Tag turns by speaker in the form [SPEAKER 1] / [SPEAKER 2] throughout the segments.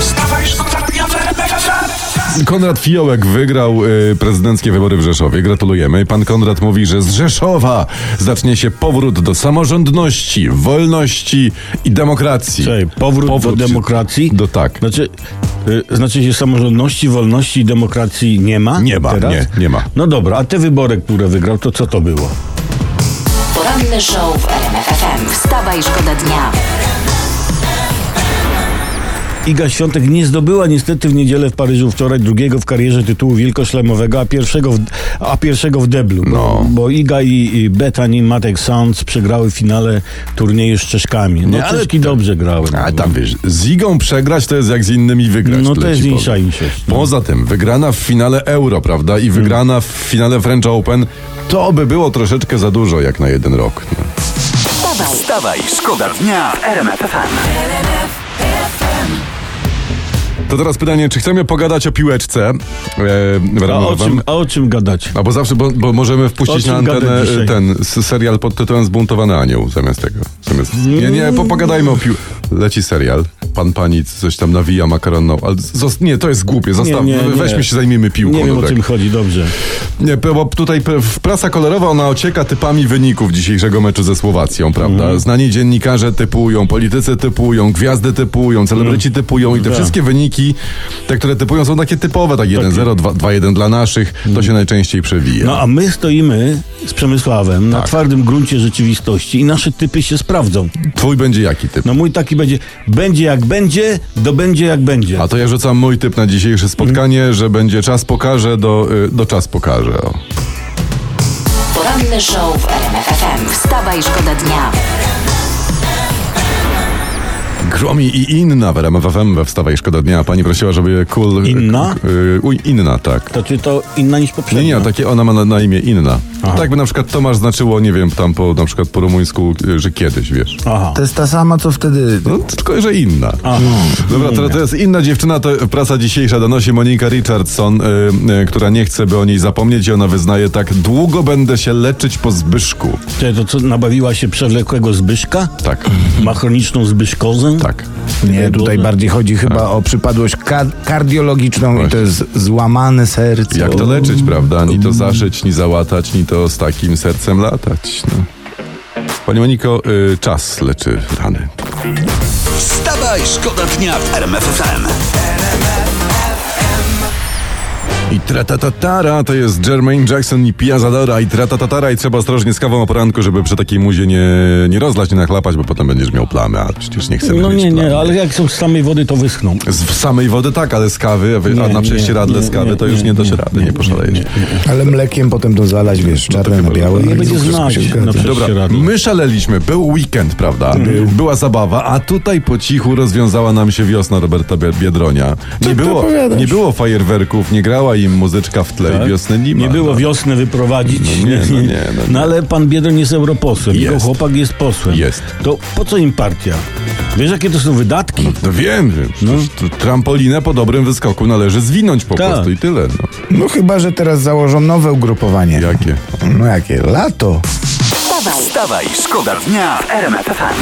[SPEAKER 1] Wstawaj, szkoda dnia w RMFFM.
[SPEAKER 2] Konrad Fiołek wygrał y, prezydenckie wybory w Rzeszowie. Gratulujemy. Pan Konrad mówi, że z Rzeszowa zacznie się powrót do samorządności, wolności i demokracji.
[SPEAKER 3] Czekaj, powrót, do demokracji?
[SPEAKER 2] Do tak.
[SPEAKER 3] Znaczy, y, znaczy się samorządności, wolności i demokracji nie ma?
[SPEAKER 2] Nie ma,
[SPEAKER 3] teraz?
[SPEAKER 2] nie, nie ma.
[SPEAKER 3] No dobra, a te wybory, które wygrał, to co to było?
[SPEAKER 4] Poranny show w RMF FM. Wstawaj, szkoda dnia.
[SPEAKER 3] Iga Świątek nie zdobyła niestety w niedzielę w Paryżu wczoraj drugiego w karierze tytułu wielkoszlemowego, a pierwszego w, a pierwszego w deblu.
[SPEAKER 2] No.
[SPEAKER 3] Bo, bo Iga i, i Bethany Matek Sounds przegrały w finale turnieju z Czeszkami. No
[SPEAKER 2] Nie, ale tak,
[SPEAKER 3] Czeszki dobrze grały.
[SPEAKER 2] A tam wiesz, z Igą przegrać to jest jak z innymi wygrać.
[SPEAKER 3] No
[SPEAKER 2] tyle
[SPEAKER 3] to jest
[SPEAKER 2] ci
[SPEAKER 3] insza
[SPEAKER 2] powiem.
[SPEAKER 3] inszość.
[SPEAKER 2] Poza tym, wygrana w finale Euro, prawda? I wygrana w finale French Open, to by było troszeczkę za dużo jak na jeden rok. No.
[SPEAKER 4] Wstawaj.
[SPEAKER 1] Wstawaj, szkoda dnia w RMFFM.
[SPEAKER 2] To teraz pytanie, czy chcemy pogadać o piłeczce? E,
[SPEAKER 3] A o, czym, a o czym gadać?
[SPEAKER 2] A bo zawsze, bo, bo możemy
[SPEAKER 3] O
[SPEAKER 2] wpuścić
[SPEAKER 3] czym
[SPEAKER 2] na
[SPEAKER 3] gadać
[SPEAKER 2] antenę e,
[SPEAKER 3] dzisiaj?
[SPEAKER 2] ten s- serial pod tytułem Zbuntowany Anioł zamiast tego. Zamiast, nie, nie, po, pogadajmy o pił... Leci serial. Pan, pani coś tam nawija makaronną. Ale zos, nie, to jest głupie. Zostaw,
[SPEAKER 3] nie, nie.
[SPEAKER 2] weźmy się, zajmiemy piłką.
[SPEAKER 3] Nie wiem o
[SPEAKER 2] dobrego.
[SPEAKER 3] czym chodzi, dobrze.
[SPEAKER 2] Nie, bo tutaj p- w- prasa kolorowa ona ocieka typami wyników dzisiejszego meczu ze Słowacją, prawda?
[SPEAKER 3] Mhm.
[SPEAKER 2] Znani dziennikarze typują, politycy typują, gwiazdy typują, celebryci typują i te
[SPEAKER 3] Tak.
[SPEAKER 2] wszystkie wyniki, te, które typują, są takie typowe, tak 1-0, 2- 2-1 dla naszych, to się najczęściej przewija.
[SPEAKER 3] Mhm. No a my stoimy z Przemysławem
[SPEAKER 2] Tak.
[SPEAKER 3] na twardym gruncie rzeczywistości i nasze typy się sprawdzą.
[SPEAKER 2] Twój będzie jaki typ?
[SPEAKER 3] No mój taki będzie, będzie jak będzie, dobędzie jak będzie.
[SPEAKER 2] A to ja rzucam mój typ na dzisiejsze spotkanie, że będzie czas pokaże do, y, do czas pokaże. O.
[SPEAKER 4] Poranny show w RMF FM. Wstawaj, szkoda dnia.
[SPEAKER 2] Gromi i inna w RMFFM we Wstawaj Szkoda Dnia. Pani prosiła, żeby cool...
[SPEAKER 3] Inna?
[SPEAKER 2] Y, uj, inna, tak.
[SPEAKER 3] To czy to inna niż poprzednia?
[SPEAKER 2] Nie, nie, takie ona ma na, na imię inna. Tak by na przykład Tomasz znaczyło, nie wiem, tam po, na przykład po rumuńsku, y, że kiedyś, wiesz.
[SPEAKER 3] Aha.
[SPEAKER 5] To jest ta sama, co wtedy.
[SPEAKER 2] No, tylko, że inna.
[SPEAKER 3] A, no.
[SPEAKER 2] Dobra, to, to jest inna dziewczyna, to prasa dzisiejsza donosi Monika Richardson, y, y, która nie chce, by o niej zapomnieć i ona wyznaje tak, długo będę się leczyć po Zbyszku.
[SPEAKER 3] Czy to co, nabawiła się przewlekłego Zbyszka?
[SPEAKER 2] Tak,
[SPEAKER 3] Ma chroniczną Zbyszkozę?
[SPEAKER 2] tak.
[SPEAKER 5] Nie, tutaj bardziej chodzi chyba o przypadłość ka- kardiologiczną i to jest złamane serce.
[SPEAKER 2] Jak to leczyć, prawda? Ni to zaszyć, ni załatać, ni to z takim sercem latać. No. Pani Moniko, y, czas leczy rany.
[SPEAKER 1] Wstawaj, szkoda dnia w RMFFM.
[SPEAKER 2] I tratatatara to jest Jermaine Jackson i Pia Zadora i tratatatara i trzeba ostrożnie z kawą o poranku, żeby przy takiej muzie nie, nie rozlać, nie nachlapać, bo potem będziesz miał plamy, a przecież nie chcemy
[SPEAKER 3] No
[SPEAKER 2] mieć
[SPEAKER 3] nie,
[SPEAKER 2] plamy.
[SPEAKER 3] nie, ale jak są z samej wody, to wyschną.
[SPEAKER 2] Z w samej wody tak, ale z kawy, a wy- a
[SPEAKER 3] Nie,
[SPEAKER 2] na
[SPEAKER 3] nie,
[SPEAKER 2] prześcieradle z
[SPEAKER 3] nie,
[SPEAKER 2] kawy to
[SPEAKER 3] nie,
[SPEAKER 2] już nie dasz
[SPEAKER 3] nie,
[SPEAKER 2] rady,
[SPEAKER 3] nie,
[SPEAKER 2] nie poszalejesz.
[SPEAKER 5] Ale mlekiem potem to zalać, wiesz, czarne na białe.
[SPEAKER 2] No Nie
[SPEAKER 5] i
[SPEAKER 3] będzie
[SPEAKER 5] wszystko
[SPEAKER 3] znać.
[SPEAKER 5] się zgadza.
[SPEAKER 3] No, przecież-
[SPEAKER 2] Dobra,
[SPEAKER 3] Prześcieradle.
[SPEAKER 2] my szaleliśmy, był weekend, prawda? Była zabawa, a tutaj po cichu rozwiązała nam się wiosna Roberta Bie- Biedronia. Nie było, nie było fajerwerków, nie grała im muzyczka w tle i wiosny nie ma.
[SPEAKER 3] Nie było wiosny wyprowadzić.
[SPEAKER 2] No nie, no nie, no nie.
[SPEAKER 3] No ale pan Biedroń jest europosłem. Jego
[SPEAKER 2] Jest.
[SPEAKER 3] chłopak jest posłem.
[SPEAKER 2] Jest.
[SPEAKER 3] To po co im partia? Wiesz, jakie to są wydatki?
[SPEAKER 2] No wiem, że no. trampolinę po dobrym wyskoku należy zwinąć po
[SPEAKER 3] Tak.
[SPEAKER 2] prostu i tyle. No.
[SPEAKER 5] No chyba, że teraz założą nowe ugrupowanie.
[SPEAKER 2] Jakie?
[SPEAKER 5] No jakie? Lato.
[SPEAKER 4] Wstawaj.
[SPEAKER 1] Wstawaj, szkoda dnia w RMFFM.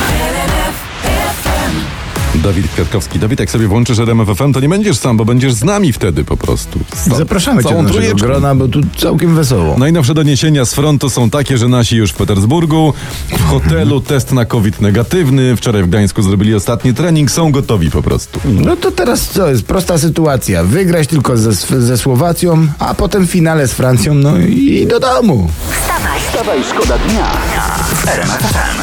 [SPEAKER 2] Dawid Kwiatkowski. Dawid, jak sobie włączysz RMF FM, to nie będziesz sam, bo będziesz z nami wtedy po prostu. Ca-
[SPEAKER 5] Zapraszamy cię do
[SPEAKER 2] No, całą
[SPEAKER 5] naszego
[SPEAKER 2] trójeczkę. No.
[SPEAKER 5] grona, bo tu całkiem wesoło.
[SPEAKER 2] Najnowsze doniesienia z frontu są takie, że nasi już w Petersburgu, w hotelu test na COVID negatywny, wczoraj w Gdańsku zrobili ostatni trening, są gotowi po prostu.
[SPEAKER 5] No to teraz co jest? Prosta sytuacja. Wygrać tylko ze, ze Słowacją, a potem w finale z Francją, no i do domu.
[SPEAKER 1] Wstawaj, szkoda dnia w RMFFM.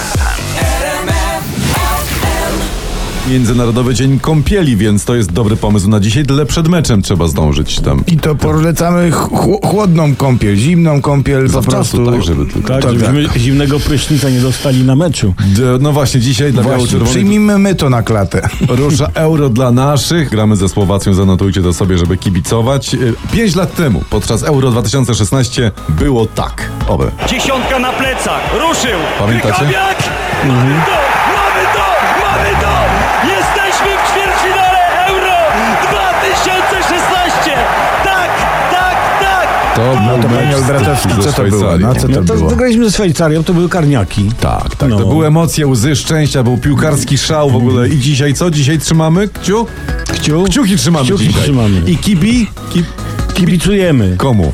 [SPEAKER 2] Międzynarodowy Dzień Kąpieli, więc to jest dobry pomysł na dzisiaj, tyle przed meczem trzeba zdążyć tam.
[SPEAKER 5] I to polecamy chł- chłodną kąpiel, zimną kąpiel, po
[SPEAKER 2] Zawczasu,
[SPEAKER 5] prostu.
[SPEAKER 2] tak, żeby tylko-
[SPEAKER 3] Tak,
[SPEAKER 5] Tak,
[SPEAKER 3] żebyśmy zimnego prysznica nie dostali na meczu.
[SPEAKER 2] D- No właśnie, dzisiaj dla
[SPEAKER 5] Właśnie,
[SPEAKER 2] biało-czerwonych
[SPEAKER 5] przyjmijmy my to na klatę.
[SPEAKER 2] Rusza euro dla naszych. Gramy ze Słowacją, zanotujcie to sobie, żeby kibicować. Y, Pięć lat temu, podczas Euro 2016, było tak. Owe.
[SPEAKER 6] Dziesiątka na plecach. Ruszył.
[SPEAKER 2] Pamiętacie?
[SPEAKER 6] Krychowiak! Mamy to! Mamy to! Mamy to! Jesteśmy w ćwierćfinale Euro 2016! Tak, tak,
[SPEAKER 2] To
[SPEAKER 5] No
[SPEAKER 2] był
[SPEAKER 5] to panie
[SPEAKER 2] mecz z-
[SPEAKER 5] Olbratowski,
[SPEAKER 2] ze
[SPEAKER 5] co to było?
[SPEAKER 2] Szwajcarią.
[SPEAKER 5] No co to
[SPEAKER 3] No to
[SPEAKER 5] było?
[SPEAKER 3] wygraliśmy ze Szwajcarią, to były karniaki.
[SPEAKER 2] Tak, tak.
[SPEAKER 3] No.
[SPEAKER 2] To były emocje, łzy szczęścia, był piłkarski szał w ogóle. I dzisiaj co? Dzisiaj trzymamy kciu?
[SPEAKER 3] Kciu?
[SPEAKER 2] Kciuki trzymamy
[SPEAKER 3] Kciuki
[SPEAKER 2] dzisiaj.
[SPEAKER 3] trzymamy.
[SPEAKER 2] I kibi? Kib...
[SPEAKER 3] Kibicujemy.
[SPEAKER 2] Komu?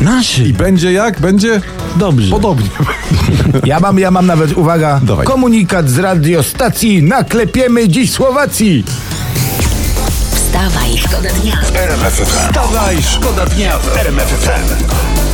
[SPEAKER 3] Naszy.
[SPEAKER 2] I będzie jak? Będzie
[SPEAKER 3] Dobrze.
[SPEAKER 2] podobnie.
[SPEAKER 5] Ja mam, ja mam nawet, uwaga,
[SPEAKER 2] Dawaj.
[SPEAKER 5] komunikat z radiostacji Naklepiemy dziś Słowacji.
[SPEAKER 4] Wstawaj, szkoda dnia.
[SPEAKER 1] Wstawaj, szkoda dnia w RMF FM.